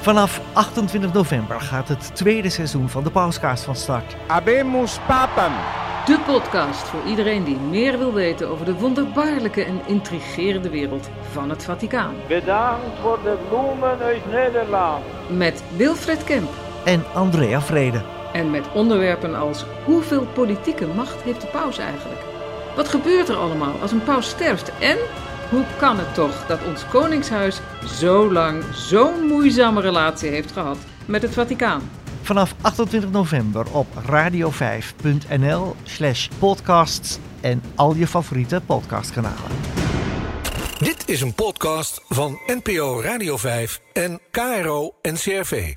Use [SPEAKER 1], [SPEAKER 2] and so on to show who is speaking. [SPEAKER 1] Vanaf 28 november gaat het tweede seizoen van de Pauskaars van start.
[SPEAKER 2] Habemus papam.
[SPEAKER 3] De podcast voor iedereen die meer wil weten over de wonderbaarlijke en intrigerende wereld van het Vaticaan.
[SPEAKER 4] Bedankt voor de bloemen uit Nederland.
[SPEAKER 3] Met Wilfred Kemp
[SPEAKER 1] En Andrea Vrede.
[SPEAKER 3] en met onderwerpen als hoeveel politieke macht heeft de paus eigenlijk? Wat gebeurt er allemaal als een paus sterft? En hoe kan het toch dat ons koningshuis zo lang zo'n moeizame relatie heeft gehad met het Vaticaan?
[SPEAKER 1] Vanaf 28 november op radio5.nl slash podcasts en al je favoriete podcastkanalen.
[SPEAKER 5] Dit is een podcast van NPO Radio 5 en KRO NCRV.